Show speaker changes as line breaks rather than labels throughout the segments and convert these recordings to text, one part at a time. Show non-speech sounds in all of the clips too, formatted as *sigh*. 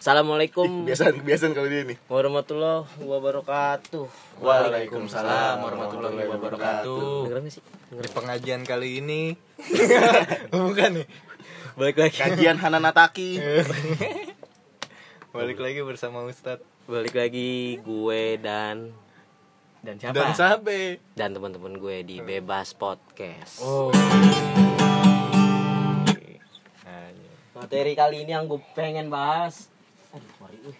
Assalamualaikum
Biasaan kebiasaan kalau dia nih.
warahmatullahi wabarakatuh.
Waalaikumsalam
warahmatullahi wabarakatuh.
Dengeran gak sih?
Di pengajian kali ini
*laughs*
Oh, Bukan nih Balik lagi
Kajian Hananataki.
Balik lagi bersama Ustadz
Balik lagi gue dan
Dan siapa?
Dan Sabe
dan teman-teman gue di Bebas Podcast.
oh.
Nah, iya.
Materi kali ini yang gue pengen bahas Aduh, mari, wih.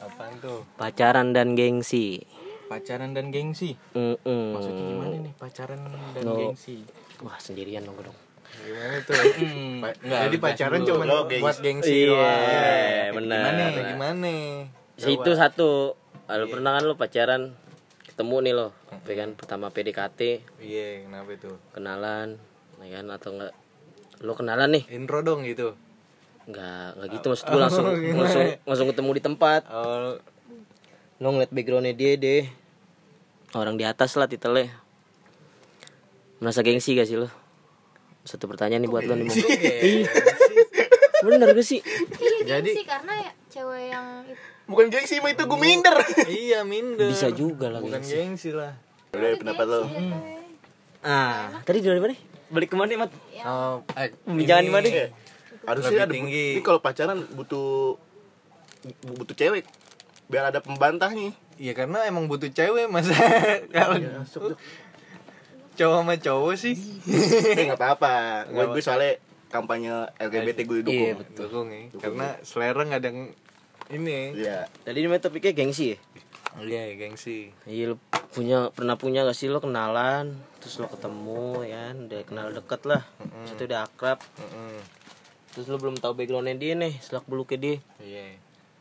Apaan tuh?
pacaran dan gengsi.
Pacaran dan gengsi.
Mm-mm.
Maksudnya gimana nih pacaran dan
No.
gengsi?
Wah sendirian dong gue dong.
Gimana tuh?
Hmm,
Pa-
enggak,
Jadi
gas
pacaran
dulu.
cuma
Lo gengsi.
buat gengsi
Iya,
doang.
benar.
Gimana? ya? Gimana?
Situ satu. Lo pernah kan lo pacaran ketemu nih lo, ya kan pertama PDKT
Iya, kenapa itu?
kenalan, ya kan atau enggak lo kenalan nih
Intro dong gitu.
Enggak, enggak gitu maksud gue langsung langsung langsung ketemu di tempat.
Oh,
Lo ngeliat backgroundnya dia deh. Orang di atas lah titelnya. Merasa gengsi gak sih lo? Satu pertanyaan nih buat lo nih. Bung. Iya. Bener gak sih?
Jadi-
jadi sih karena ya cewek yang itu-
Bukan gengsi mah itu gue minder.
iya minder.
Bisa juga lah
Bukan
gengsi.
gengsi lah.
Udah ya, pendapat lo.
Ah, tadi dari mana? Iya. Balik kemana nih, Mat?
Oh, eh,
Pembicaraan
ini-
di mana?
Harusnya ada
tinggi.
Ini kalau pacaran butuh butuh cewek biar ada *laughs* pembantahnya.
Iya karena emang butuh cewek masa kalau cowok sama cowok sih
Eh enggak apa-apa. Gue gue soalnya kampanye LGBT gue
Iya,
dukung.
betul.
dukung ya karena selera nggak ada yang ini
Iya.
Tadi namanya topiknya gengsi ya?
iya ya, gengsi
Iya, lo punya pernah punya gak sih lo kenalan, terus lo ketemu ya, kan? udah kenal deket lah. Terus itu udah akrab.
Mm-mm.
Terus lo belum tahu backgroundnya dia nih, selak beluknya dia.
iya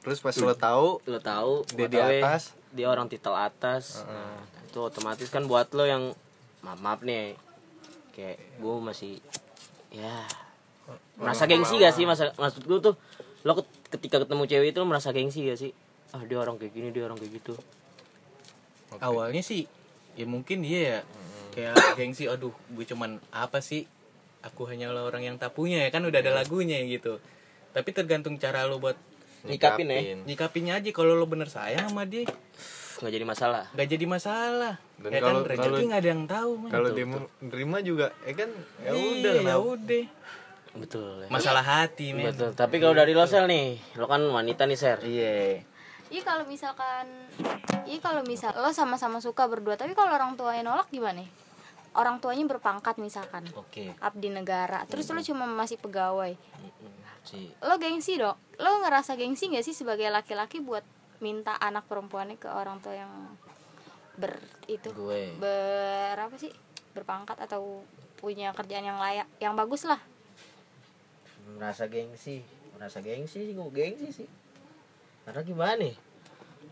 terus pas lo tahu
lo tahu
Dia
gua
di
tahu ya,
atas.
dia orang titel atas Nah, itu otomatis kan buat lo yang maaf maaf nih kayak gue masih ya merasa gengsi gak sih masa maksud gue tuh lo ket- ketika ketemu cewek itu lo merasa gengsi gak sih ah dia orang kayak gini dia orang kayak gitu
Awalnya sih ya mungkin dia ya kayak gengsi aduh gue cuman apa sih? Aku hanyalah orang yang tak punya ya kan udah ada lagunya gitu. Tapi tergantung cara lo buat
Nyikapin ya?
nyikapinnya aja kalau lo bener sayang sama dia
Pff, nggak jadi masalah
nggak jadi masalah.
Dan
ya
kalau-
kan rezeki
kalau-
nggak ada yang tahu man.
kalau dia mau nerima juga eh kan ya udah
ya
kenapa
udah.
betul ya.
Masalah hati men.
betul tapi kalau dari lo sel nih lo kan wanita nih ser
Iya.
iya kalau misalkan iya kalau misal lo sama-sama suka berdua tapi kalau orang tuanya nolak gimana orang tuanya berpangkat misalkan
oke
abdi negara terus lo cuma masih pegawai
si
lo gengsi dong lo ngerasa gengsi nggak sih sebagai laki-laki buat minta anak perempuannya ke orang tua yang ber itu
gue
ber apa sih berpangkat atau punya kerjaan yang layak yang bagus lah
merasa gengsi merasa gengsi sih gue gengsi sih karena gimana nih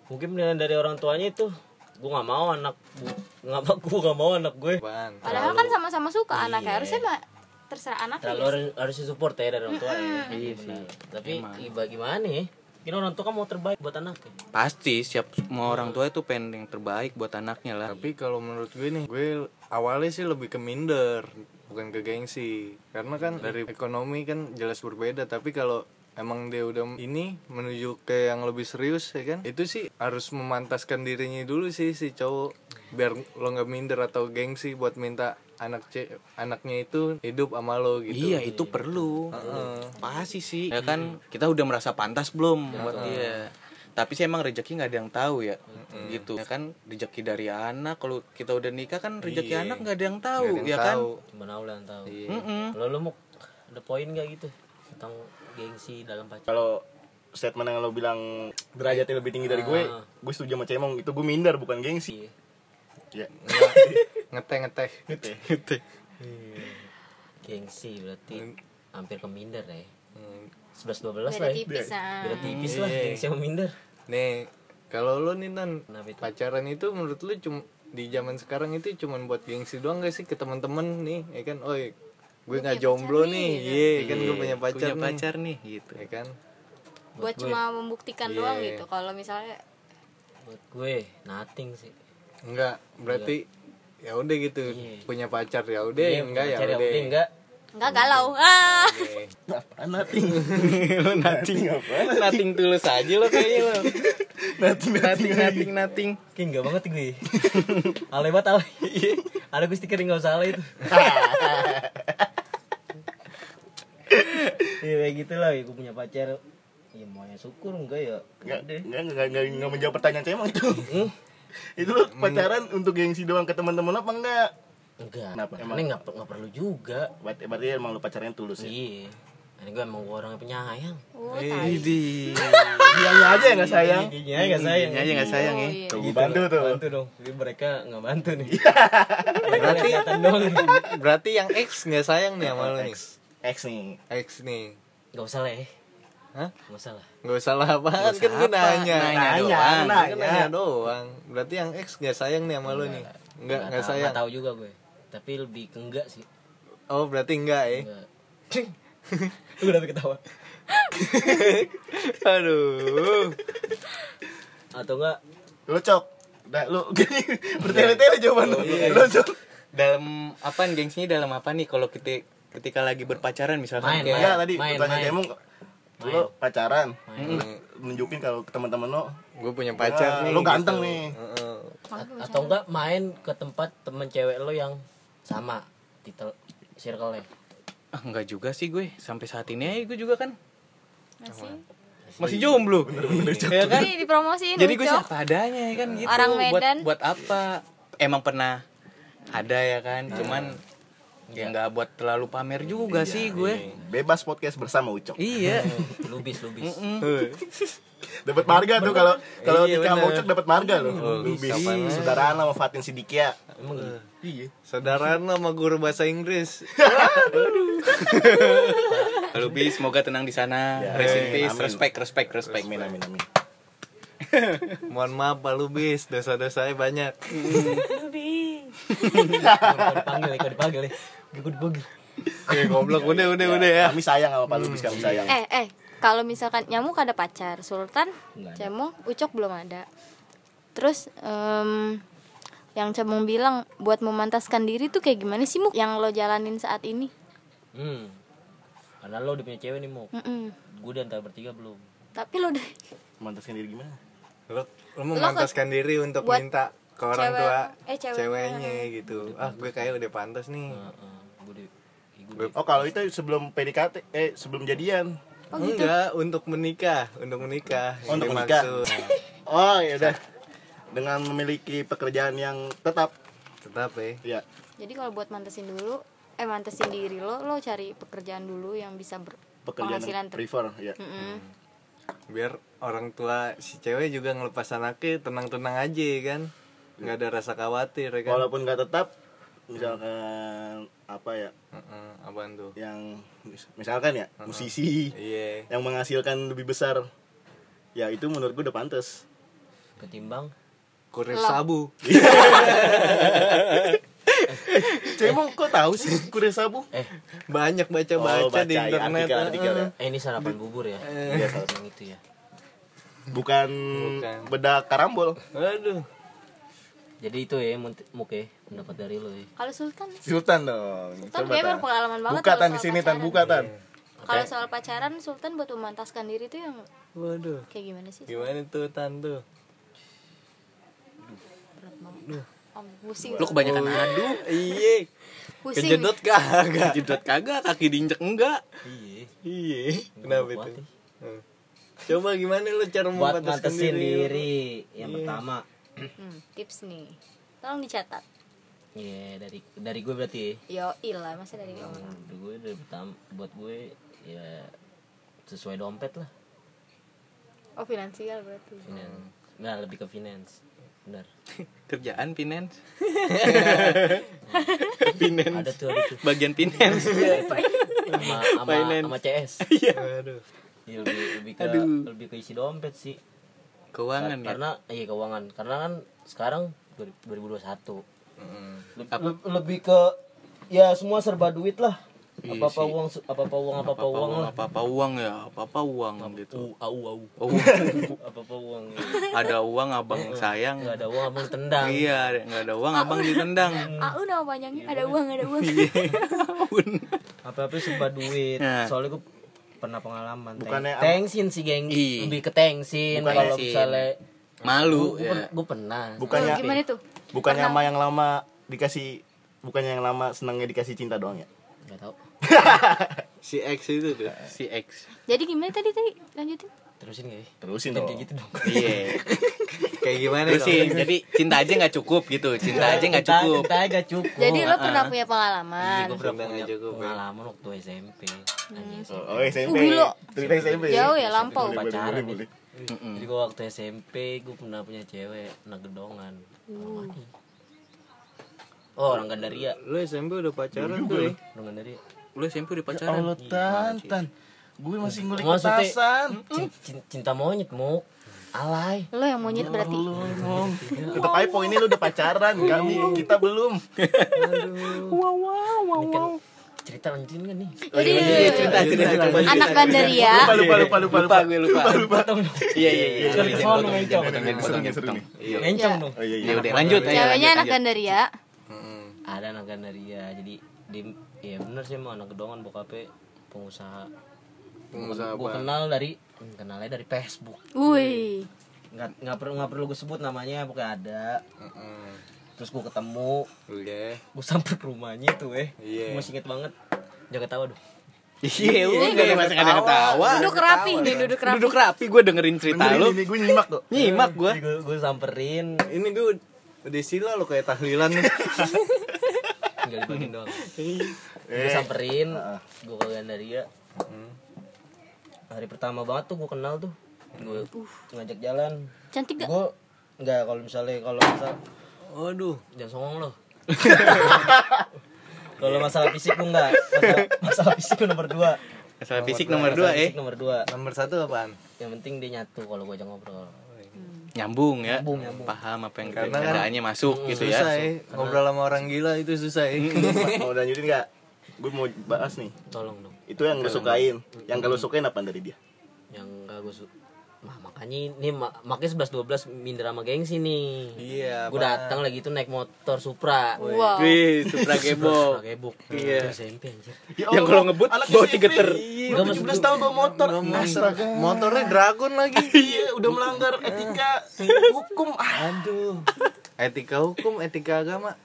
mungkin penilaian dari orang tuanya itu gue nggak mau anak bu- nggak mau *laughs* gue nggak mau anak gue
Apaan?
Padahal kan sama-sama suka anaknya harusnya mah terserah
Iya.
anaknya.
terlalu harus harusnya support ya dari orang tua ya. Iya, benar. tapi iba- gimana ya Kira orang tua kan mau terbaik buat anaknya
Pasti siap semua orang tua itu pengen yang terbaik buat anaknya lah.
tapi kalau menurut gue nih gue awalnya sih lebih ke minder bukan ke gengsi karena
Hmm.
kan dari ekonomi kan jelas berbeda tapi kalau emang dia udah ini menuju ke yang lebih serius ya kan itu sih harus memantaskan dirinya dulu sih si cowok biar lo nggak minder atau gengsi buat minta anak ce anaknya itu hidup sama lo gitu
Iya itu perlu. Pasti sih. Ya kan kita udah merasa pantas belum buat dia. Tapi sih emang rezeki nggak ada yang tahu ya, gitu. Ya kan rezeki dari anak. Kalau kita udah nikah kan rezeki
Iya.
anak nggak ada yang
Nggak
tahu,
ada yang
ya
tahu.
cuma Allah yang tahu
Iya.
kan?
lo lo mau ada poin gak gitu tentang gengsi dalam pacaran
Kalau statement yang lo bilang derajatnya lebih tinggi dari
Ah.
gue, gue setuju sama Cemong itu gue minder bukan gengsi. Iya.
ngeteh ngeteh
gengsi berarti hampir ke minder ya
Hmm.
11 12 lah
Beda
ya
tipis nah.
beda tipis lah gengsi sama minder
nih kalau lo nih nan
Kenapa itu?
pacaran itu menurut lu cuma di zaman sekarang itu cuman buat gengsi doang gak sih ke teman-teman nih ya kan oi gue nggak jomblo nih iya kan gue punya pacar
Punya
nih
pacar nih,
*laughs*
gitu.
ya kan
Buat cuma membuktikan doang gitu. Kalau misalnya
buat gue nothing sih
enggak berarti ya udah gitu punya pacar ya udah enggak ya
Cari
udah
Audi enggak
Enggak galau. Ah.
Apaan nothing?
lu nothing
apaan?
*laughs* nothing tulus aja lo kayaknya lo nothing nothing nothing nothing
Kayak enggak banget gue. alay banget alay. *laughs* Ada gue stiker enggak usah alay itu. Iya kayak gitu lah, ya, gue punya pacar. Ya mau ya syukur enggak ya.
Enggak,
Enggak deh.
enggak, enggak, enggak, enggak menjawab pertanyaan saya emang itu. *laughs* itu lo pacaran untuk gengsi doang ke teman-teman apa enggak?
Enggak.
Kenapa?
Emang enggak enggak perlu juga.
Berarti, berarti emang lu pacarnya tulus ya?
Iya. Ini gue emang gue orangnya penyayang.
Oh, tai.
Iya aja yang gak sayang.
Iya, enggak sayang. Gitu
aja nggak sayang ya
Oh, iya.
Tuh, bantu tuh.
Bantu dong. Iya. Jadi mereka enggak bantu nih. Berarti dong.
Berarti yang X nggak sayang nih sama lu nih.
X nih.
X nih.
Enggak usah lah ya.
Hah?
Enggak usah lah.
Gak usah lah apaan kan gue nanya
Nanya doang.
doang Kan
Nanya.
nanya doang Berarti yang X gak sayang nih sama lu nih Enggak, gak
tahu-
sayang
Enggak tahu juga gue. Tapi lebih ke enggak sih.
Oh berarti enggak ya
*laughs* Enggak. Lu kenapa *laughs* ketawa?
Aduh
Atau enggak
Lu cok. Nah, lu *laughs* gini bertele-tele jawaban lu. Lu cok.
dalam apaan gengsinya dalam apa nih kalau kita ketika lagi berpacaran misalkan
Main,
kayak
Enggak tadi
Main,
pertanyaan
main.
saya emang lu pacaran. Nunjukin kalau ke teman-teman lu
Gue punya
"Wah,
pacar nih
Lu ganteng
gitu.
nih.
Heeh.
A- atau enggak main ke tempat temen cewek lo yang sama titel circle-nya.
ah, enggak juga sih gue sampai saat ini aja gue juga kan
Masih.
masih jomblo ya kan
Ini dipromosiin
jadi gue
Ucok.
siapa adanya ya kan gitu
Orang
buat
Medan.
buat apa emang pernah ada ya kan
Nah.
cuman ya nggak buat terlalu pamer juga
Iya,
sih gue
Bebas podcast bersama Ucok.
iya
Lubis, lubis. *laughs*
Dapat marga tuh kalau kalau
Iya,
nikah sama
bener. Oh,
Ucok dapat marga lu. Lu
kapan
bisa saudaraan sama Fatin Sidikia.
Emang gitu.
Iya.
Saudaraan lo sama guru bahasa Inggris
Lalu bis semoga tenang di sana
Iya,
rest in peace respect respect respect
Amin amin amin.
Mohon maaf Pak Lubis Dosa-dosanya banyak
Kalau dipanggil, kalau dipanggil. ya. Gue dipanggil.
Oke goblok
Iya,
udah udah udah ya
Kami sayang sama Pak Lubis,
Iya.
kami sayang.
Eh, eh, kalau misalkan nyamuk ada pacar, Sultan, Cemung, Ucok belum ada. Terus em, yang Cemung bilang buat memantaskan diri tuh kayak gimana sih Muk yang lo jalanin saat ini?
Hmm. Karena lo udah punya cewek nih, Mok.
Mm-mm.
Gue di antara bertiga belum.
Tapi lo udah
Mantaskan diri gimana?
Lo, lo memantaskan diri untuk
buat
minta ke orang
cewek-
tua
eh, cewek.
ceweknya gitu Ah gue kayak udah pantas nih
Heeh. Gue di gue
Oh kalau itu sebelum PDKT, eh sebelum jadian.
gitu.
Enggak, untuk menikah, untuk menikah.
Oh, untuk
Yang
menikah.
dimaksud.
*laughs* Oh ya udah. Dengan memiliki pekerjaan yang tetap,
Tetap
ya
ya.
Jadi kalau buat mantesin dulu, eh mantesin diri lo, lo cari pekerjaan dulu yang bisa ber
pekerjaan
penghasilan ter-
prefer, ya.
Mm-mm.
Biar orang tua si cewek juga ngelepas anaknya tenang-tenang aja ya kan. Nggak ada rasa khawatir ya kan.
Walaupun nggak tetap, misalkan apa ya,
Heeh, apaan tuh?
yang mis- misalkan ya musisi
Iya.
yang menghasilkan lebih besar, ya itu menurut gue udah pantas.
ketimbang
Kurir sabu.
Cemong kok tahu *laughs* sih kurir sabu?
eh
Banyak baca-baca
Oh, baca
di
ya,
internet.
artikel- artikel ya.
eh ini sarapan bubur ya. Iya, sarapan itu ya.
Bukan,
Bukan.
bedak karambol.
Aduh.
Jadi itu ya, Mut- Muk ya, pendapat dari lo ya.
Kalau Sultan,
Sultan dong.
Sultan
Coba,
kayaknya
Tan.
berpengalaman banget
Buka
kalau
tan di
soal
sini tan
pacaran.
buka tan.
kalau soal pacaran Sultan buat memantaskan diri tuh yang
Waduh.
kayak gimana sih?
Gimana tuh Tantu?
Om, Oh, pusing,
lu kebanyakan aduh
Iya.
pusing.
Oh, Kejedot kagak?
jedot kagak kaki diinjek enggak
*laughs*
Iya.
Iya. Kenapa
Buat
itu?
nih.
Hmm. Coba gimana lu cara
Buat
memantaskan
mantesin
diri? lu?
diri yang pertama.
Hmm, tips nih, tolong dicatat.
Iya, dari dari gue berarti ya.
Yo ilah masa dari kamu.
Menurut gue dari pertama buat gue ya sesuai dompet lah
Oh finansial berarti.
Hmm.
finance nah lebih ke finance benar
kerjaan finance
ada
*laughs*
tuh ada tuh
bagian finance
Iya.
sama sama,
Finance.
sama CS
Aduh.
Iya, lebih lebih ke lebih ke isi dompet sih
keuangan ya
karena iya keuangan karena kan sekarang 2021 Leb- leb- lebih ke ya semua serba duit lah
Iya
apa apa uang su- apa apa uang apa apa uang lah
apa apa uang ya apa apa uang
u
gitu
au au
Oh,
apa apa uang
*laughs*
iya.
ada uang abang sayang
nggak ada uang abang tendang
iya nggak ada uang abang ditendang
AU nama Ah, panjangnya ada
Iya,
uang ada
*laughs*
uang
apa apa sumpah duit
Nah.
soalnya gue pernah pengalaman
Bukannya-
Teng- tengsin sih geng
Ih.
lebih ke tengsin
Iya. Bukan
kalau
tengsin.
misalnya
malu
gue
ya
pernah
Bukannya
Oh, gimana tuh
bukannya sama yang lama dikasih bukannya yang lama senangnya dikasih cinta doang ya?
nggak tahu
si X itu tuh
si X
jadi gimana tadi tadi lanjutin
Oh,
terusin gak ya
Terusin
Jangan
dong.
kayak gitu dong
iya
kayak gimana
Terus sih,
dong?
jadi cinta aja nggak cukup gitu cinta aja nggak
Cinta-
cukup
cinta aja nggak cukup
jadi lo
ah,
pernah
ah.
punya pengalaman
gue pernah
Cinta
punya
nggak cukup, ya.
pengalaman waktu SMP
Hmm.
Anjing,
Oh, oh, SMP.
Uh, gila.
Cerita SMP.
Jauh
Iya,
ya, lampau.
Boleh, boleh,
Pacaran
boleh,
nih.
boleh.
Jadi gue waktu SMP gue pernah punya cewek anak gedongan. Orang Mani. Oh orang Gandaria,
lu SMP udah pacaran tuh ya?
orang Gandaria.
lu SMP udah pacaran
Ya Allah tantan. Gue masih ngulik
Maksudnya-
petasan.
Cin- cin- Cinta monyet mau alay.
lo yang
Iya,
monyet berarti Iya,
Tetap aja poinnya lu udah pacaran, kami kita belum.
Ini kan cerita lanjutin kan nih.
Yaudah, yaudah,
Iya,
yaudah.
cinta cinta coba
anak Gandaria
Lupa lupa lupa lupa.
lupa gue lupa iya iya iya
Jangan
Jangan
kesana, Bang
potong, jangan
Icong.
potong, jangan potong,
Seru nih,
jangan
seru
potong.
nih.
Iya.
Ngencong
Iya.
dong.
Oh iya
ya
iya.
udah lanjut ayo,
ceweknya
lanjut,
anak
lanjut.
Gandaria
Ada anak Gandaria. Jadi di ya bener sih emang anak gedongan bokapnya pengusaha.
Pengusaha
Gue
apa?
kenal dari hmm, kenalnya dari Facebook.
wih
Nggak nggak perlu nggak perlu gue sebut namanya pokoknya ada.
Mm-mm.
Terus gue ketemu,
Udah.
gue sampai ke rumahnya tuh eh
Iya.
gue masih inget banget jangan ketawa dong
iya udah masih ada ketawa
duduk rapi nih duduk rapi
duduk rapi gue dengerin cerita lu
Ini gue nyimak tuh.
nyimak gue
gue gue Eh, samperin
Ini gue ud- udah sila lo kayak tahlilan nih.
tinggal dibagiin doang
Eh.
gue samperin
Ah,
gue ke Gandaria
Hmm.
hari pertama banget tuh gue kenal tuh gue ngajak jalan
cantik gak
gue nggak kalau misalnya kalau misal
Aduh.
jangan songong
*laughs*
loh kalau masalah fisik gue nggak masalah, masalah fisik gue nomor dua
masalah fisik nomor dua
Masalah
eh
fisik nomor dua
Nomor satu apaan?
yang penting dia nyatu kalau gue ajak ngobrol
nyambung ya paham apa yang
Karena kan
keadaannya masuk gitu
susah
ya
ya. Ngobrol sama orang gila itu susah ya. *laughs*
Mau lanjutin enggak? Gue mau bahas nih.
tolong dong
Itu yang lu sukain. Yang kalau sukain apaan dari dia?
yang gak gue suka Nah, makanya ini ma- makanya 11 12 minder sama gengsi nih.
Iya,
Gue datang lagi tuh naik motor Supra.
wow
wih supra gebok
*laughs* Supra gebok. Iya. Itu SMP anjir.
Ya
yang kalau ngebut bawa tiga ter
Gak masuk
17 tahun bawa motor. Astaga.
Motornya dragon *laughs* lagi.
Iya, udah melanggar
*laughs*
etika hukum. Aduh.
Etika hukum, etika agama.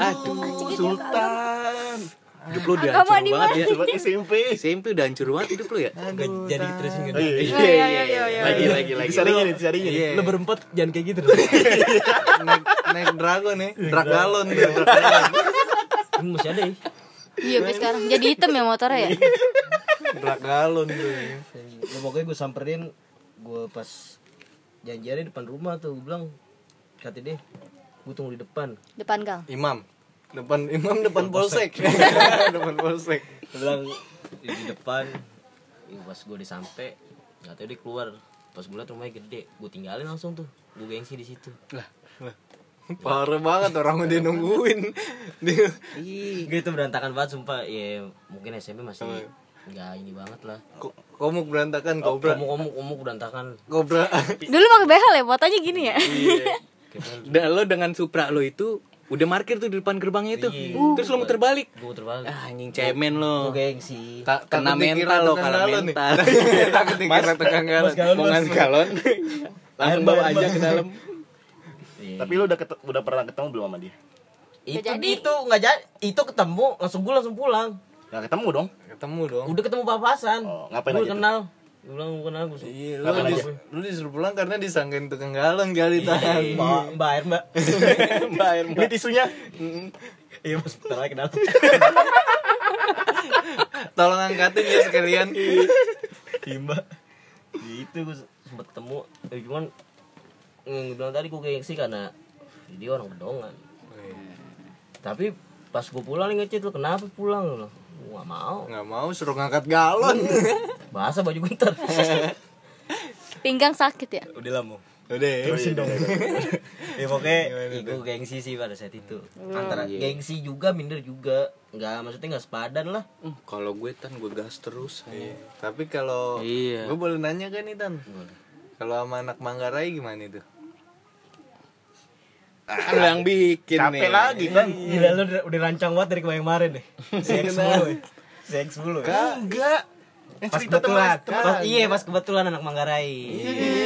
Aduh, Sultan.
hidup lu udah
Agama
hancur
di
banget ya
Coba SMP.
SMP udah hancur banget hidup lu ya
Gak jadi terusin gak?
Iya,
iya iya iya iya
lagi lagi lagi. Disaringin, disaringin.
Iya.
Lu berempat jangan kayak gitu.
*laughs* Naik, naik dragon ya. Drak galon dia. Drak
Ini masih ada ya.
iya gue sekarang jadi hitam ya motornya ya
Iya.
galon tuh.
Ya, pokoknya gue samperin gue pas janjian di depan rumah tuh gue bilang kata deh gue tunggu di depan
depan gang
Imam. Depan imam depan polsek. *laughs* depan polsek.
Dia bilang di depan Ya, pas gue disampe nggak tahu dia keluar pas gue liat rumahnya gede gue tinggalin langsung tuh gue gengsi di situ
Parah banget orang udah nungguin. Dia
gue itu berantakan banget sumpah ya mungkin SMP masih nggak ini banget lah
Ko- komuk berantakan kobra.
omuk omuk omuk berantakan
Kobra.
dulu pakai behel ya fotonya gini ya
*laughs* dan lo dengan Supra lo itu udah markir tuh di depan gerbangnya itu terus lo muter balik
gue terbalik
ah, anjing cemen lo
gue gengsi
Tak
kena mental lo kena mental
Takut dikira tukang galon.
mau ngasih *laughs* galon langsung bawa aja ke dalam
Tapi lu udah ketet- udah pernah ketemu belum sama dia?
itu
jadi.
itu nggak jadi itu ketemu langsung gue langsung pulang
Gak ketemu dong.
Ketemu dong.
udah ketemu papasan
Oh, ngapain
gue
aja tuh?
kenal gue bilang gue kenal gue suka.
Iya, lu,
Ngapain
dis- lu disuruh pulang karena disangkain tukang galon kali tahan.
mbak mbak air mbak
mbak air
Ini tisunya.
iya mas bentar lagi kenal
Tolong angkatin ya sekalian.
Himba. *laughs* Ya itu gue sempet ketemu. Eh, cuman yang gue bilang tadi gue gengsi karena dia orang bedongan. Tapi pas gue pulang nih ngecet lu kenapa pulang lu? Gue gak mau.
Nggak mau suruh ngangkat galon.
*laughs* Bahasa baju gue ntar.
*laughs* pinggang sakit ya
Udah lah mau.
Udah.
terusin dong
ya pokoknya ih,
Iya,
gua gengsi sih pada saat itu antara gengsi juga minder juga nggak maksudnya nggak sepadan lah
Hmm, kalau gue tan gue gas terus
Iya. Tapi kalau
Iya.
gue boleh nanya kan nih Tan? Kalau sama anak Manggarai gimana itu?
kan lo yang bikin
Capek lagi kan.
Iya. gila lu udah, udah rancang banget dari kemarin kemarin deh *laughs* seks mulu ya. seks mulu ya.
Enggak. Eh,
pas
cerita teman
kebetulan Iya. pas, iya pas kebetulan anak Manggarai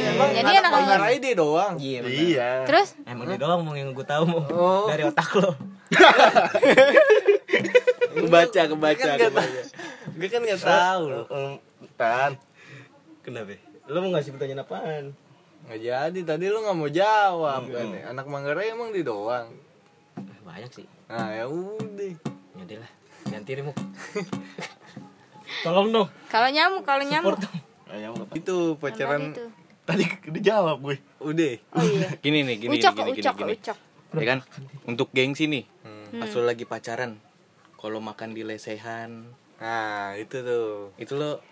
Emang
Jadi
anak
anak
Manggarai dia doang.
iya
Iya.
Terus
emang dia doang mau yang gue tahu mau
Oh.
dari otak lo
kebaca
kan
kebaca
Gue kan nggak tahu loh.
Mm, Tan.
kenapa lu mau ngasih pertanyaan apaan
Nggak jadi tadi lu nggak mau jawab kan? ya. Anak Manggarai emang dia doang.
Eh, banyak sih
Nah ya udah.
Yaudah lah ganti remuk *laughs* tolong dong
kalau nyamuk kalau nyamuk
Ayam apa?
Itu
Apaan
pacaran
itu?
Tadi udah jawab gue.
udah.
Oh iya.
gini nih gini
ucok,
gini, gini,
ucok,
gini.
ucok.
ya kan untuk gengsi nih
Hmm.
pas lo lagi pacaran kalau makan di lesehan
Nah itu tuh.
itu lo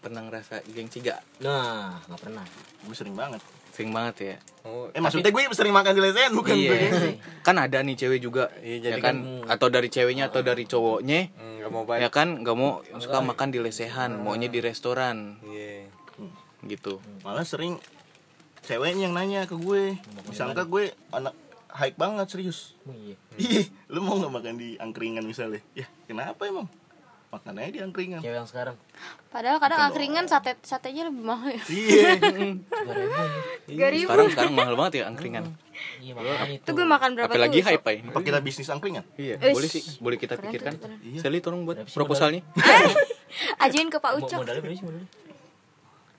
pernah ngerasa gengsi gak
nah nggak pernah
Gue sering banget.
sering banget ya
Oh,
Eh maksudnya gue sering makan di lesehan bukan gue gengsi.
kan ada nih cewek juga
Iya,
ya
jadi Hmm.
kan, atau dari ceweknya atau dari cowoknya
nggak mau banyak.
ya kan nggak mau suka makan di lesehan maunya di restoran
Iya.
gitu
Malah sering ceweknya yang nanya ke gue. Disangka gue anak hype banget serius.
iya
Ih, lu mau nggak makan di angkringan misalnya? Ya, kenapa emang? Makan aja di angkringan.
cewek yang sekarang
Padahal kadang angkringan sate satenya lebih mahal ya.
Iya.
Tiga ribu.
sekarang sekarang mahal banget ya angkringan
iya makanya
Itu gue makan Hmm. berapa
apalagi
tuh?
hype ya
Apa kita bisnis angkringan?
iya
Ush.
boleh sih boleh kita
Keren tuh,
pikirkan
keren.
Sally tolong buat proposalnya
Ajuin ke Pak
Mo-
Ucok.
modalnya berapa sih modalnya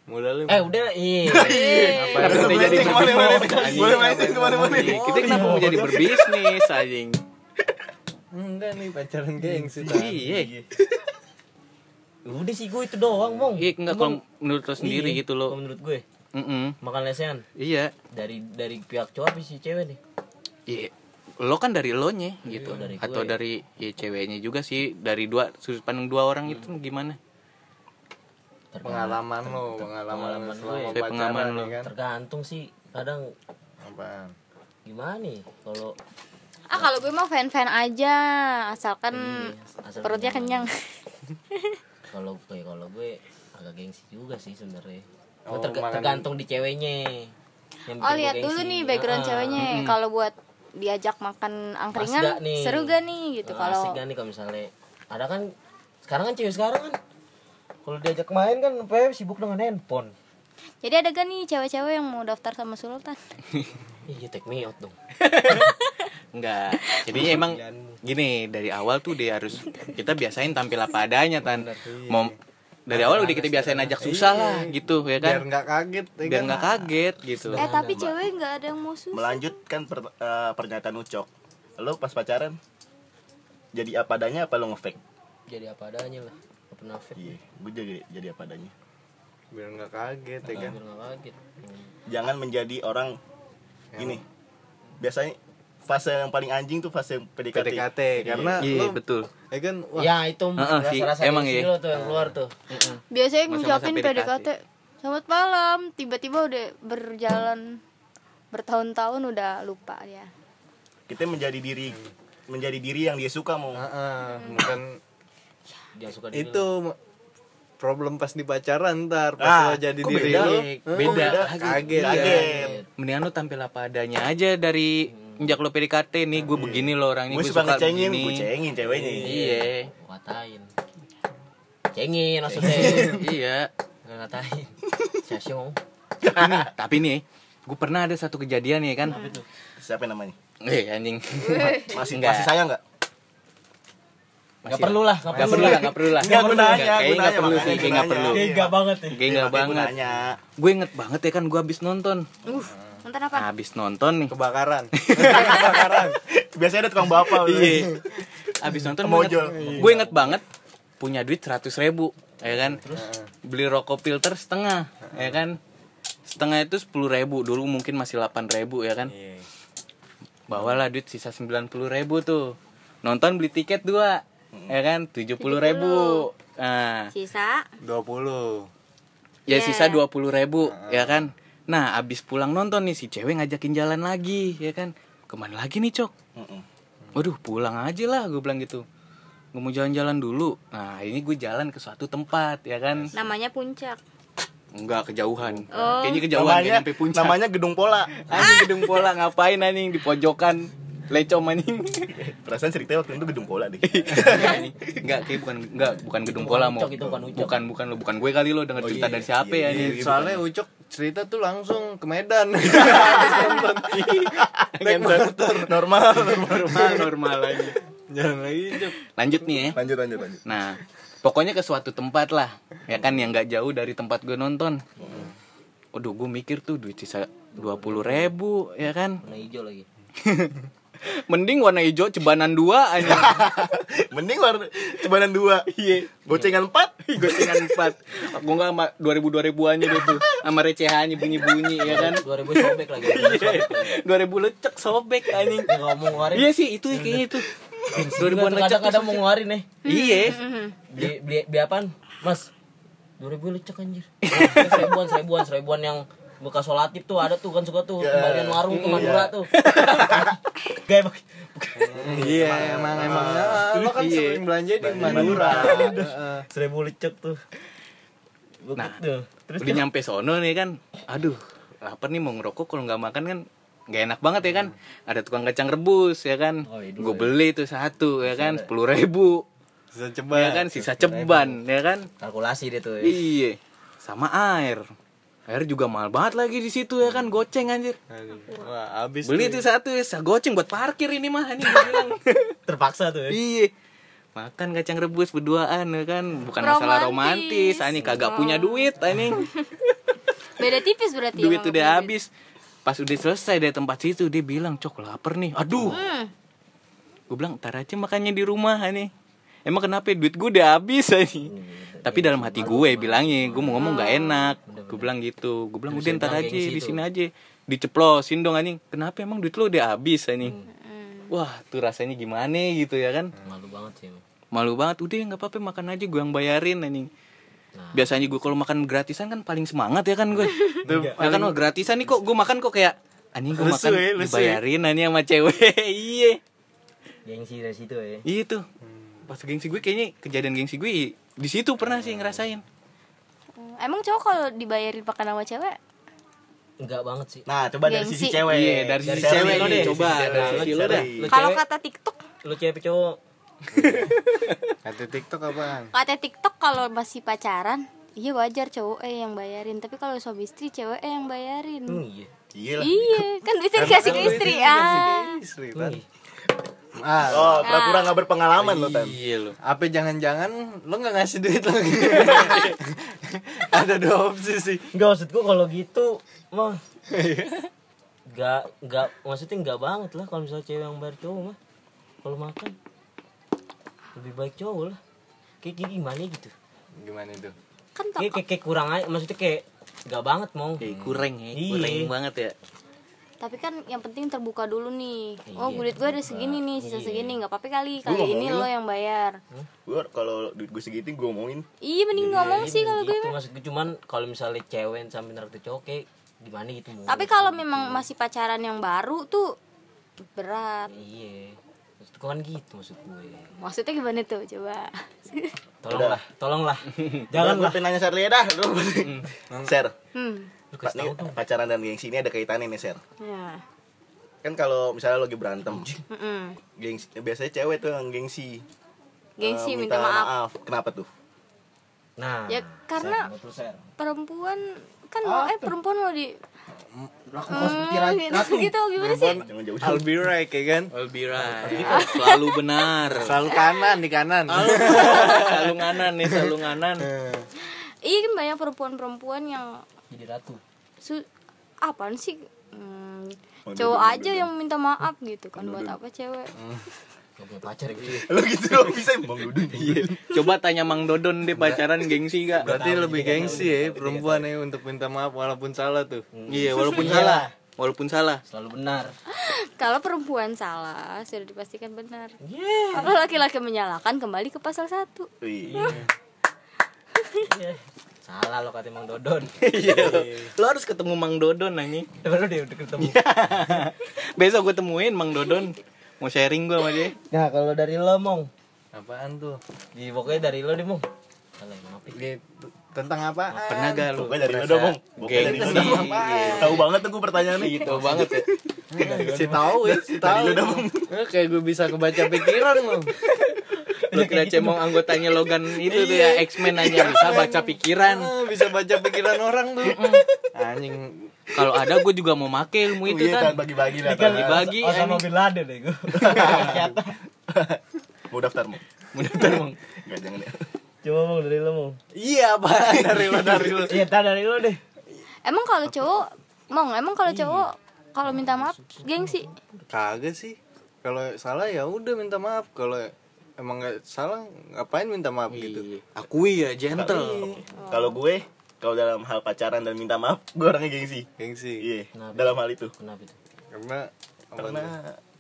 Modalnya
eh udah *laughs* iya
Kita Iya, jadi
Boleh melenceng,
Anjing.
boleh melenceng kemana-mana.
kita kenapa mau jadi berbisnis anjing
enggak nih pacaran gengsi. Tan.
iya
udah sih gue itu doang mong
iya enggak kalau menurut lo sendiri
Iya,
gitu
kalau
lo
menurut gue
Mm-mm.
makan lesehan
iya
dari dari pihak cowok apa sih cewek nih
Iya, lo kan dari lo nya gitu
dari gue,
atau
ya.
dari ya ceweknya juga sih dari dua sudut pandang dua orang itu
Hmm.
gimana
Pengalaman lo, pengalaman
Pengalaman
lo selama
gue.
Kayak pengalaman
pacaran
lo.
ya kan?
tergantung sih kadang
Apaan?
gimana nih kalau
Ah kalau gue mau fan-fan aja, asalkan
asal
perutnya kenyang.
kalau gue kalau gue agak gengsi juga sih sebenarnya Gue
Oh,
terga-
makan-
tergantung di ceweknya yang bikin
Oh
gue
lihat
gengsi.
dulu nih background
Ah,
ceweknya. ya. Kalau buat diajak makan
Pas
angkringan
gak nih?
seru gak nih gitu
ah, asik
kalau
kan nih kalau misalnya ada kan sekarang kan cewek sekarang kan kalau diajak main kan sampai sibuk dengan handphone
jadi ada gak nih cewek-cewek yang mau daftar sama Sultan
iya take me out dong
enggak jadinya emang gini dari awal tuh dia harus kita biasain tampil apa adanya tan mau dari
Nah,
awal udah kita biasain
Iya.
ajak susah lah gitu ya
Biar
kan
nggak kaget, ya
Iya.
biar
kan?
nggak kaget gitu
eh tapi cewek nggak ada yang mau susah
Melanjutkan per- eh, pernyataan Ucok. Lo pas pacaran jadi apa adanya apa lo ngefake?
jadi apa adanya lah gak pernah fake
Iya, gue jadi jadi apa adanya.
biar nggak kaget ya kan
Iya.
biar gak kaget Hmm.
Jangan menjadi orang ini. Biasanya fase yang paling anjing tuh fase PDKT.
PDKT karena
iya
lo-
betul
ya kan wah
ya itu
Heeh, sih.
rasa-rasa
Emang
gengsi
iya.
lo tuh yang keluar tuh
biasanya
Masa-masa
ngucapin
PDKT.
PDKT selamat malam tiba-tiba udah berjalan bertahun-tahun udah lupa ya
Kita menjadi diri menjadi diri yang dia suka
Iya.
mau.
ah, bukan
dia suka diri
itu ma- problem pas di pacaran ntar
Ah,
pas lo jadi
kok
diri
beda?
lo
Beda.
kaget, kaget,
Kaget. Iya.
mendingan lo tampil apa adanya aja dari Menjak lo PDKT nih gue begini lo orangnya
Gue Iya. suka ngecengin, gue cengin ceweknya.
iya
Gua katain cengin maksudnya
iya
gak ngatain siapa sih ngomong
Ini, tapi nih gue pernah ada satu kejadian ya kan
Siapa namanya?
eh anjing
Masih
Enggak.
masih sayang nggak?
gak perlu lah gak
Gak perlu lah, gak perlu lah.
Enggak, gue nanya,
Kayaknya
gue
gak
nanya,
perlu
makanya
sih,
gue
kayaknya gak
nanya.
perlu.
Gak banget nih
Kayaknya gak
Makanya gue
banget.
nanya.
Gue inget banget ya kan, gue abis nonton.
uh nonton apa
Abis nonton nih.
kebakaran *laughs* kebakaran
*laughs* Biasanya ada tukang bapak. Iya.
Abis nonton,
Mojol.
gue inget, gue inget banget punya duit 100 ribu, ya kan? Beli rokok filter setengah, ya kan? Setengah itu 10 ribu, dulu mungkin masih 8 ribu, ya kan? Bawalah duit sisa 90 ribu tuh. Nonton beli tiket dua, ya kan? 70 ribu. Nah,
sisa
dua puluh
ya sisa dua puluh ribu ya kan Nah, abis pulang nonton nih si cewek ngajakin jalan lagi, ya kan? Kemana lagi nih, Cok? Waduh, pulang aja lah, gue bilang gitu. Gue mau jalan-jalan dulu. Nah, ini gue jalan ke suatu tempat, ya kan?
Namanya puncak.
Enggak, kejauhan.
Oh.
Kayaknya kejauhan,
namanya
kayak nyampe puncak.
namanya gedung pola
Anjing Ah, gedung pola, ngapain anjing? Di pojokan. Lecom *laughs* anjing.
perasaan ceritanya waktu itu gedung pola
*laughs*
deh
Iya, Enggak, kayak bukan enggak bukan gedung pola mau.
Ucok, itu bukan Ucok.
bukan bukan lo, bukan gue kali lo denger cerita dari siapa ya anjing.
Soalnya Ucok cerita tuh langsung ke *laughs* Medan.
Naik motor. Iya.
normal
normal normal aja.
Jangan lagi Ucok.
Lanjut nih ya.
lanjut lanjut lanjut
Nah, pokoknya ke suatu tempat lah, ya kan yang nggak jauh dari tempat gue nonton. Waduh, gue mikir tuh duit sisa dua puluh ribu, ya kan? *laughs*
warna hijau lagi
Mending warna hijau cebanan dua aja. *laughs*
mending war cumanan dua
Iya.
gocengan empat
Gocengan empat. Gue nggak sama dua ribu dua ribuannya deh tuh, sama recehannya bunyi bunyi, ya
*laughs*
kan?
2000 sobek lagi
Dua ribu lecek sobek anjing.
Dia nggak mau ngeluarin
Iya sih, itu kayaknya itu. Dua ribuan lecek.
kadang kadang mau ngeluarin nih
Iya.
beli beli beli apaan mas 2000 lecek *laughs* anjir Ini seribuan seribuan seribuan yang bekas solatif tuh ada tuh kan suka tuh kembalian warung tuh Madura *laughs* tuh gak emang
Iya, emang emang. Nah, Lo kan sering belanja di Madura. Heeh.
seribu lecek tuh
Nah.
tuh
udah nyampe sono nih kan aduh lapar nih mau ngerokok kalau nggak makan kan nggak enak banget ya kan ada tukang kacang rebus ya kan gue beli tuh satu ya kan sepuluh ribu
Bisa
ya
coba.
kan sisa ceban ya kan
kalkulasi dia tuh ya.
iya sama air air juga mahal banget lagi di situ ya kan goceng anjir
Aduh, Wah, habis.
beli tuh satu ya sa- goceng buat parkir ini mah ini gua
*laughs*
bilang.
terpaksa tuh ya.
iya makan kacang rebus berduaan ya kan bukan
Romantis.
masalah romantis anjing kagak punya duit anjing *laughs*
Beda tipis berarti.
duit
emang
udah
kepunya duit.
habis pas udah selesai dari tempat situ dia bilang cok lapar nih aduh gue bilang ntar aja makannya di rumah nih emang kenapa ya? duit gue udah habis *laughs* nih tapi dalam hati gue bilangnya gue mau ngomong gak enak gue bilang gitu gue bilang udah ntar aja di sini aja diceplosin dong anjing kenapa emang duit lo udah habis anjing wah tuh rasanya gimana gitu ya kan
malu banget sih emang.
malu banget udah nggak apa-apa makan aja gue yang bayarin anjing biasanya gue kalau makan gratisan kan paling semangat ya kan gue ya kan wah gratisan nih kok gue makan kok kayak anjing gue
Lesu
makan
ya, lesu
dibayarin anjing sama cewek *laughs* iya
gengsi dari situ ya
iya tuh pas gengsi gue kayaknya kejadian gengsi gue di situ pernah sih ngerasain
Emang cowok kalau dibayarin pakai nama cewek?
enggak banget sih
nah coba dari sisi
Gengsi.
cewek
iya dari sisi cewek
lo
nih
deh.
coba dari sisi lo dah
Iya.
lu
Kalau
cewek
kata TikTok,
lu cewek apa cowok
Kata TikTok apaan?
kata TikTok kalau masih pacaran, iya wajar cowok eh yang bayarin. Tapi kalau suami istri cewek eh yang bayarin.
hmm, iya
iya lah
Iya, kan duitnya dikasih ke istri ah.
Istri kan.
Iya.
Ah,
oh pura-pura nggak berpengalaman lo tan
iya lo
apa jangan-jangan lo nggak ngasih duit lagi? Ada dua opsi sih.
enggak maksud gua kalau gitu mah Iya. enggak enggak maksudnya enggak banget lah kalau misalnya cewek yang bayar cowok mah kalau makan lebih baik cowok lah kayak kayak gimana gitu
Gimana itu?
Kan
kayak
tok.
kayak, kayak kurang aja maksudnya kayak enggak banget mau
Eh, kurang ya,
Iya.
kurang banget ya.
Tapi kan yang penting terbuka dulu nih. Oh, duit gue ada segini nih, sisa segini Iya. nggak ya. apa-apa kali. Kali ini lo yang bayar.
gue kalau duit gue segitu gue omongin
Iya, mending ngomong sih kalau gue.
gitu maksud gua cuman kalau misalnya cewek sampai narik tuh cowok kayak gimana gitu mau
Tapi kalau memang masih pacaran yang baru tuh berat.
iya maksud gua kan gitu maksud gue
Maksudnya gimana tuh? Coba. *laughs*
tolonglah tolonglah *laughs*
jangan
janganlah
gue pengen nanya Sherly dah lu
Mm.
share
Hmm.
Lu
Pak,
kasih
nih, pacaran dan gengsi ini ada kaitannya nih Ser
Ya.
kan kalau misalnya lo lagi berantem
Mm-mm.
gengsi biasanya cewek tuh yang gengsi Eh,
Gengsi minta maaf.
kenapa tuh
nah
Ya karena
terus Ser.
perempuan kan mau eh perempuan mau di
Laku
Eh, gitu, gitu gimana sih?
jangan jauh jauh
I'll be right, ya kan?
All be right. Nah, kan Selalu benar.
Selalu kanan di kanan.
Selalu nganan nih, selalu nganan.
Iya kan banyak perempuan-perempuan yang
jadi ratu
su apaan sih? Hmm,
Oh,
cowok aja yang minta maaf gitu kan buat apa cewek?
Hmm.
gak punya pacar ya gitu
lo gitu lo bisa bang dudun
Coba tanya Mang Dodon deh pacaran gengsi gak?
Berarti lebih gengsi ya perempuan ya untuk minta maaf walaupun salah tuh.
Iya, walaupun salah. Walaupun salah.
selalu benar
*laughs* Kalau perempuan salah sudah dipastikan benar.
Iya.
Kalau laki-laki menyalahkan kembali ke pasal 1.
Wih.
Salah lo kata Mang Dodon. *laughs*
*laughs* Lo harus ketemu Mang Dodon anjing.
Baru dia udah ketemu.
Besok gue temuin Mang Dodon. Mau sharing gue sama dia.
Nah, kalau dari lo, Mong.
Apaan tuh?
Di pokoknya dari lo deh, Mong. Salah, maaf. ya.
Di- Iya, tentang apaan?
Pernah gak lo?
Pokoknya dari lo dong, Bang. Pokoknya dari lo dong. Tahu banget tuh gue pertanyaannya.
Gitu banget ya.
si tahu ya, si tahu.
Iya,
Eh, Kayak gue bisa kebaca pikiran lo.
Lo kira cemong anggotanya Logan itu tuh ya X-Men aja bisa baca pikiran.
Ah, bisa baca pikiran orang tuh. Anjing
Kalau ada gue juga mau make ilmu itu
Iya, kan
kan.
bagi-bagi lah.
Tinggal
Tan.
dibagi.
Osama
anjing.
Bin Laden ya, deh gue.
Mau daftar mau?
Mau daftar, Mang.
Enggak jangan ya.
*laughs* Coba Mong dari lo, Mong.
Iya apa dari lo dari lo.
Iya, tar dari lo deh.
Emang kalau cowok Mong, emang kalau cowok kalau minta maaf gengsi.
Kagak sih. Kalau salah ya udah minta maaf. Kalau emang nggak salah ngapain minta maaf gitu.
Akui ya gentle.
Kalau gue, kalau dalam hal pacaran dan minta maaf, gue orangnya gengsi.
Gengsi.
Iya, dalam hal itu.
Kenapa itu?
Karena apa ya? tuh?
Karena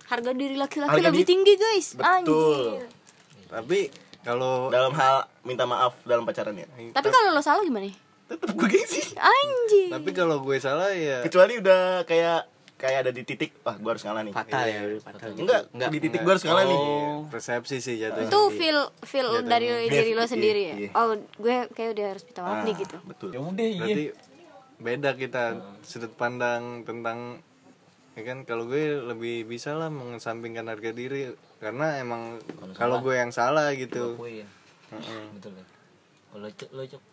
Harga diri laki-laki
Harga
lebih
diri-
tinggi, guys.
betul.
tapi kalau
Dalam hal minta maaf dalam pacaran ya.
Tapi kalau lo salah gimana?
Tetap gue gengsi.
Anjing.
tapi kalau gue salah ya
*laughs* Kecuali udah kayak kayak ada di titik, wah gue harus ngalah nih. Iya,
Fatal ya, fatal.
Enggak, di titik gue harus ngalah nih.
Oh. persepsi sih jatuhnya.
Itu feel feel dari diri lo sendiri ya.
iya. Ah.
Oh, gue kayak udah harus minta maaf nih gitu.
Betul.
Ya udah, iya.
Berarti beda kita sudut pandang tentang ya kan kalau gue lebih bisa lah mengesampingkan harga diri karena emang kalau gue yang salah
Iya,
gitu.
Akuin. iya. Betul deh. Kalau cok lo cok.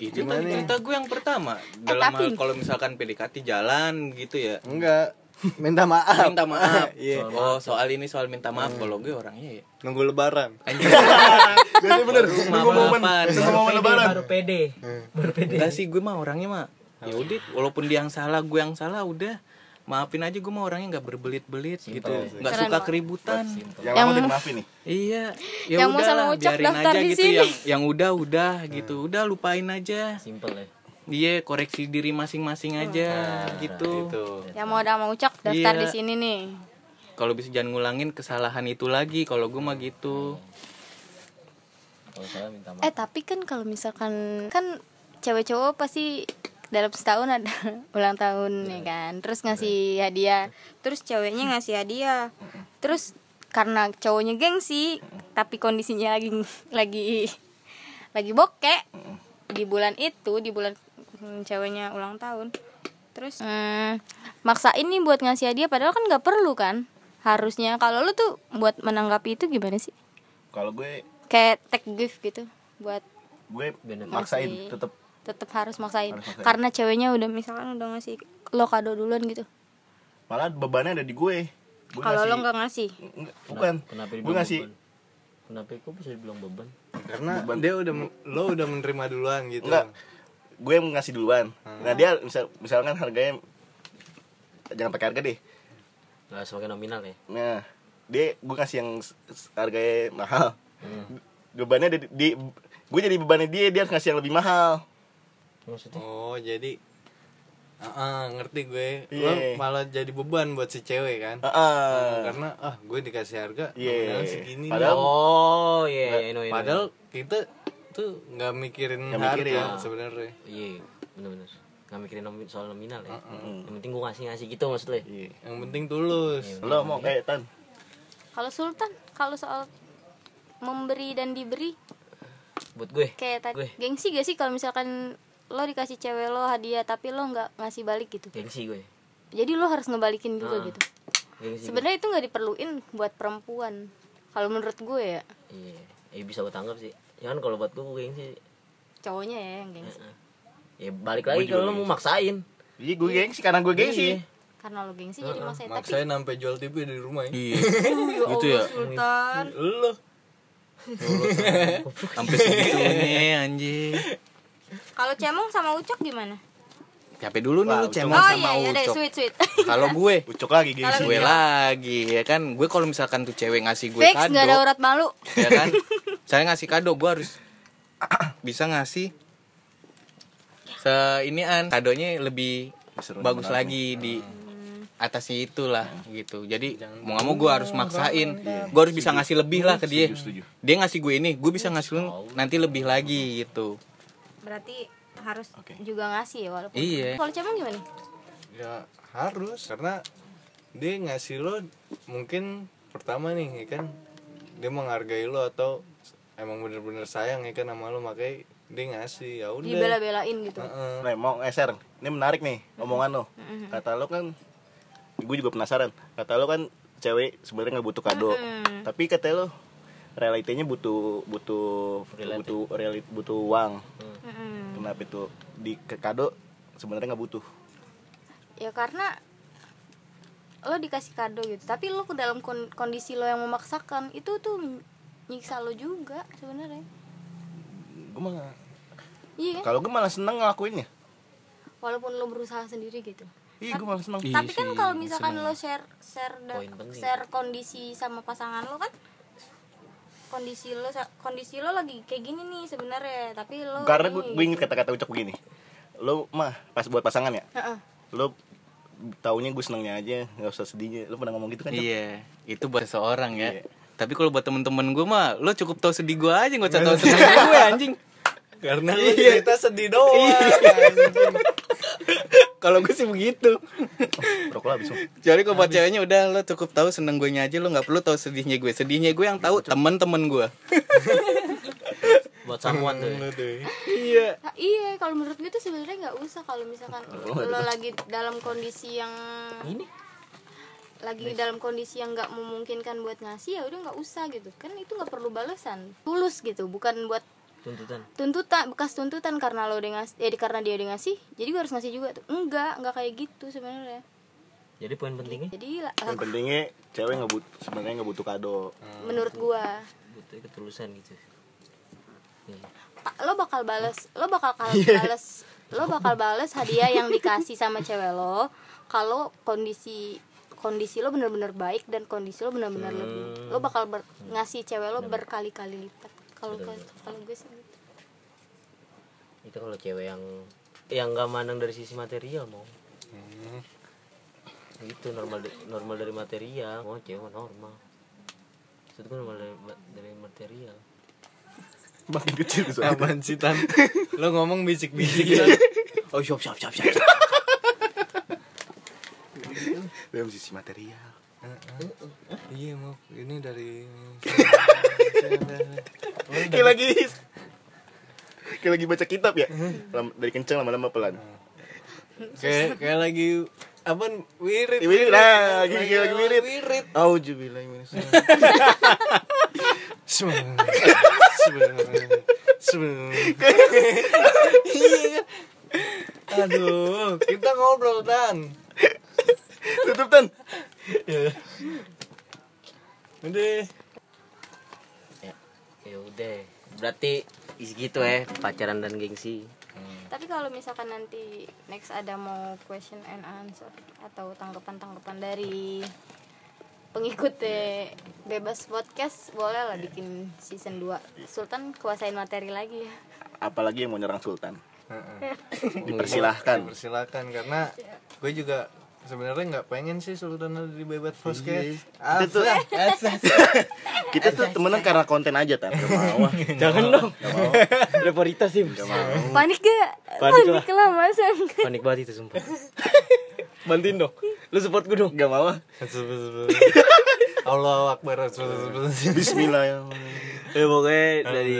Itu tadi cerita gue yang pertama dalam hal kalau misalkan PDKT jalan gitu ya.
Enggak. Minta
*laughs*
maaf.
Minta maaf.
Iya.
Oh, soal ini soal minta maaf kalau gue orangnya ya.
Nunggu lebaran.
Anjing.
Jadi bener, nunggu momen,
Maaf-maafan.
nunggu momen lebaran.
Baru pede. Baru pede.
Enggak sih gue mah orangnya mah ya udah walaupun dia yang salah gue yang salah udah maafin aja gue mah orangnya nggak berbelit-belit gitu nggak suka keributan
Yang lama udah dimaafin nih.
iya ya
Yang mau
udah
sama
lah,
Ucok
biarin
daftar
aja
di
gitu
sini.
yang yang udah udah gitu udah lupain aja
Simple ya.
dia koreksi diri masing-masing aja
Nah,
gitu
Tuh.
Yang Ya, mau udah mau ucap daftar
Iya.
di sini nih.
kalau bisa jangan ngulangin kesalahan itu lagi kalau gue mah gitu
Kalau salah minta maaf.
Eh, tapi kan kalau misalkan kan cewek cowok pasti dalam setahun ada *laughs* ulang tahun ya kan. Terus ngasih hadiah. Terus ceweknya ngasih hadiah. Terus karena cowoknya gengsi, tapi kondisinya lagi lagi lagi bokek di bulan itu, di bulan mm, ceweknya ulang tahun. Terus mm, maksain nih buat ngasih hadiah padahal kan nggak perlu kan. Harusnya kalau lu tuh buat menanggapi itu gimana sih?
Kalau gue,
kayak tag gift gitu buat
gue maksain
Masih.
tetap
tetap harus maksain
Harus maksain.
karena ceweknya udah misalkan udah ngasih lo kado duluan gitu
malah bebannya ada di gue. Gue
kalau
ngasih-
lo nggak ngasih
Enggak, bukan.
Kenapa
Gue
dibilang
ngasih
beban? Kenapa kok bisa dibilang beban?
Karena dia udah men- lo udah menerima duluan gitu.
enggak. Gue yang ngasih duluan.
Hmm.
Nah, dia misal misalkan harganya jangan pakai harga deh.
Nah, sebagai nominal ya.
Nah, dia gue kasih yang s- s- harganya mahal. Bebannya ada di, di- gue jadi bebannya dia, dia harus ngasih yang lebih mahal.
Maksudnya?
Oh, jadi Ah, ah, ngerti gue.
Iya.
Lo malah jadi beban buat si cewek kan?
Heeh.
Karena ah gue dikasih harga
Iya.
nominal segini.
Padahal
Oh, iya, iya, iya, iya.
Padahal kita tuh nggak mikirin
Nggak
harga
mikirin. ya.
sebenarnya.
Iya, bener-bener Gak mikirin nomi- soal nominal ya Yang penting gue ngasih-ngasih gitu maksudnya
Iya.
Yang penting tulus.
Lo mau kayak Tan.
kalau Sultan kalau soal memberi dan diberi
Buat gue
kayak tadi
Gue.
gengsi gak sih kalau misalkan lo dikasih cewek lo hadiah tapi lo nggak ngasih balik gitu
Iya.
Gengsi gue
jadi lo harus ngebalikin juga gitu
Gengsi gue.
sebenarnya itu nggak diperluin buat perempuan kalau menurut gue ya
Iya Eh bisa gue tanggap sih Ya kan kalau buat gue, gue gengsi
cowoknya ya yang gengsi
Ya balik lagi kalau lo mau maksain
Iya, gue gengsi karena gue gengsi.
Iya.
karena lo gengsi jadi maksain tapi
Maksain sampai jual TV dari rumah ya.
iya
Ya
Gitu
Allah,
ya?
Sultan
Lo
sampai segitunya anjing
Kalau Cemong sama Ucok gimana?
capek dulu nih lu cemong
oh
sama
iya, iya deh,
Ucok
sweet sweet. *laughs*
kalau gue
Ucok lagi gengsi.
Iya gue lagi ya kan gue kalau misalkan tuh cewek ngasih gue
gitu. Fix
kado
nggak ada urat malu.
ya kan saya ngasih kado gue harus *clears throat* bisa ngasih se inian kadonya lebih
Seru
bagus lagi di
Hmm.
atasnya itulah gitu jadi mau nggak mau gue harus maksain gue harus bisa ngasih lebih lah ke dia dia ngasih gue ini gue bisa ngasih lu nanti lebih lagi gitu
berarti harus
Oke.
juga ngasih ya walaupun
Iya.
kalau cemong gimana nih?
ya harus karena dia ngasih lo mungkin pertama nih ya kan dia menghargai lo atau emang bener-bener sayang ya kan sama lo makanya dia ngasih ya udah
dibela-belain gitu
Heeh.
Nih, mau ngeser. Ini menarik nih omongan lo. Kata lo kan gue juga penasaran. Kata lo kan cewek sebenarnya nggak butuh kado. Tapi kata lo realitanya butuh butuh butuh realit butuh uang. Kenapa itu di ke kado sebenarnya nggak butuh.
ya karena lo dikasih kado gitu tapi lo ke dalam kon- kondisi lo yang memaksakan itu tuh nyiksa lo juga sebenarnya
Gue malah
iya kan
kalau gue malah seneng ngelakuinnya.
walaupun lo berusaha sendiri gitu
Ih, gue malah seneng.
Iya
tapi kan
sih,
kalau misalkan
seneng.
lo share share da- share kondisi sama pasangan lo kan kondisi lo sa- kondisi lo lagi kayak gini nih sebenarnya tapi lo
Karena
ini
gue, gue inget kata-kata ucap begini. Lo mah pas buat pasangan ya.
Heeh.
Lo taunya gue senengnya aja, nggak usah sedihnya. Lo pernah ngomong gitu kan? Cap?
Iya, itu buat seseorang ya.
Iya.
Tapi kalau buat temen-temen gue mah, lo cukup tau sedih gue aja, gak
*laughs*
usah tau sedih gue anjing.
karena lo cerita sedih doang
Kalau gue sih begitu.
Rokok lo habis Om.
Jadi kalau buat ceweknya udah lo cukup tahu seneng gue aja, lo nggak perlu tahu sedihnya gue. Sedihnya gue yang tahu temen-temen gue.
buat samuan tuh ya.
*laughs* Iya.
Nah, iya kalau menurut gue tuh sebenarnya nggak usah kalau misalkan lo lagi dalam kondisi yang
ini
lagi dalam kondisi yang nggak memungkinkan buat ngasih ya udah nggak usah gitu kan itu nggak perlu balasan tulus gitu bukan buat
tuntutan
tuntutan bekas tuntutan karena lo udah ngasih eh, karena dia udah ngasih jadi gue harus ngasih juga tuh enggak enggak kayak gitu sebenarnya
jadi poin pentingnya
jadi lah-
yang pentingnya cewek nggak butuh sebenarnya nggak butuh kado
menurut gua
butuh ketulusan gitu Nih.
ta- lo bakal bales lo bakal kal- bales lo bakal bales hadiah yang dikasih sama cewek lo kalau kondisi kondisi lo bener-bener baik dan kondisi lo bener-bener lebih lo bakal ber- ngasih cewek lo berkali-kali lipat kalau kalau gue sih gitu.
itu kalau cewek yang yang nggak mandang dari sisi material mau gitu normal de- normal dari material mau cewek mah normal maksud gue normal dari, ma- dari material
makin kecil tuh soalnya.
apaan sih tan lo ngomong bisik-bisik
Iya.
Tan.
oh siap siap siap siap
dalam sisi material
*laughs* iya mau ini dari
kayak lagi kayak lagi baca kitab ya Lam- dari kenceng lama-lama pelan
kayak kayak lagi apa wirid
*laughs* Wirid, nah, lagi- lagi wirid.
wirid
Auzubillahi minasyaitonir rajim.
Sebenarnya, sebenarnya, sebenarnya. Iya kan? Aduh, kita ngobrol tan.
tutup tan
Udah.
ya udah berarti is gitu ya pacaran dan gengsi
tapi kalau misalkan nanti next ada mau question and answer atau tanggapan-tanggapan dari pengikutnya bebas podcast boleh lah bikin season 2 Sultan kuasain materi lagi ya
apalagi yang mau nyerang sultan Hmm.
Heeh.
dipersilahkan
Dipersilakan karena gue juga sebenarnya nggak pengen sih sultan ada di bebas *laughs* podcast.
kita tuh *laughs* kita tuh temenan karena konten aja tan Gak mau ah.
jangan dong udah prioritas sih
panik gak?
Oh. Panik
panik,
lah.
lah
*laughs*
masa enggak
panik banget itu sumpah bantuin dong lu support gue dong
Gak mau ah.
Allah Akbar.
Bismillahirrahmanirrahim
ya pokoknya dari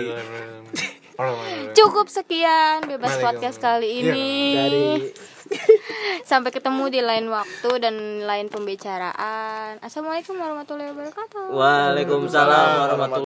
*laughs*
cukup sekian bebas
Waalaikumsalam.
podcast kali
Iya,
ini
dari
*laughs* sampai ketemu di lain waktu dan lain pembicaraan assalamualaikum warahmatullahi wabarakatuh
Waalaikumsalam warahmatullahi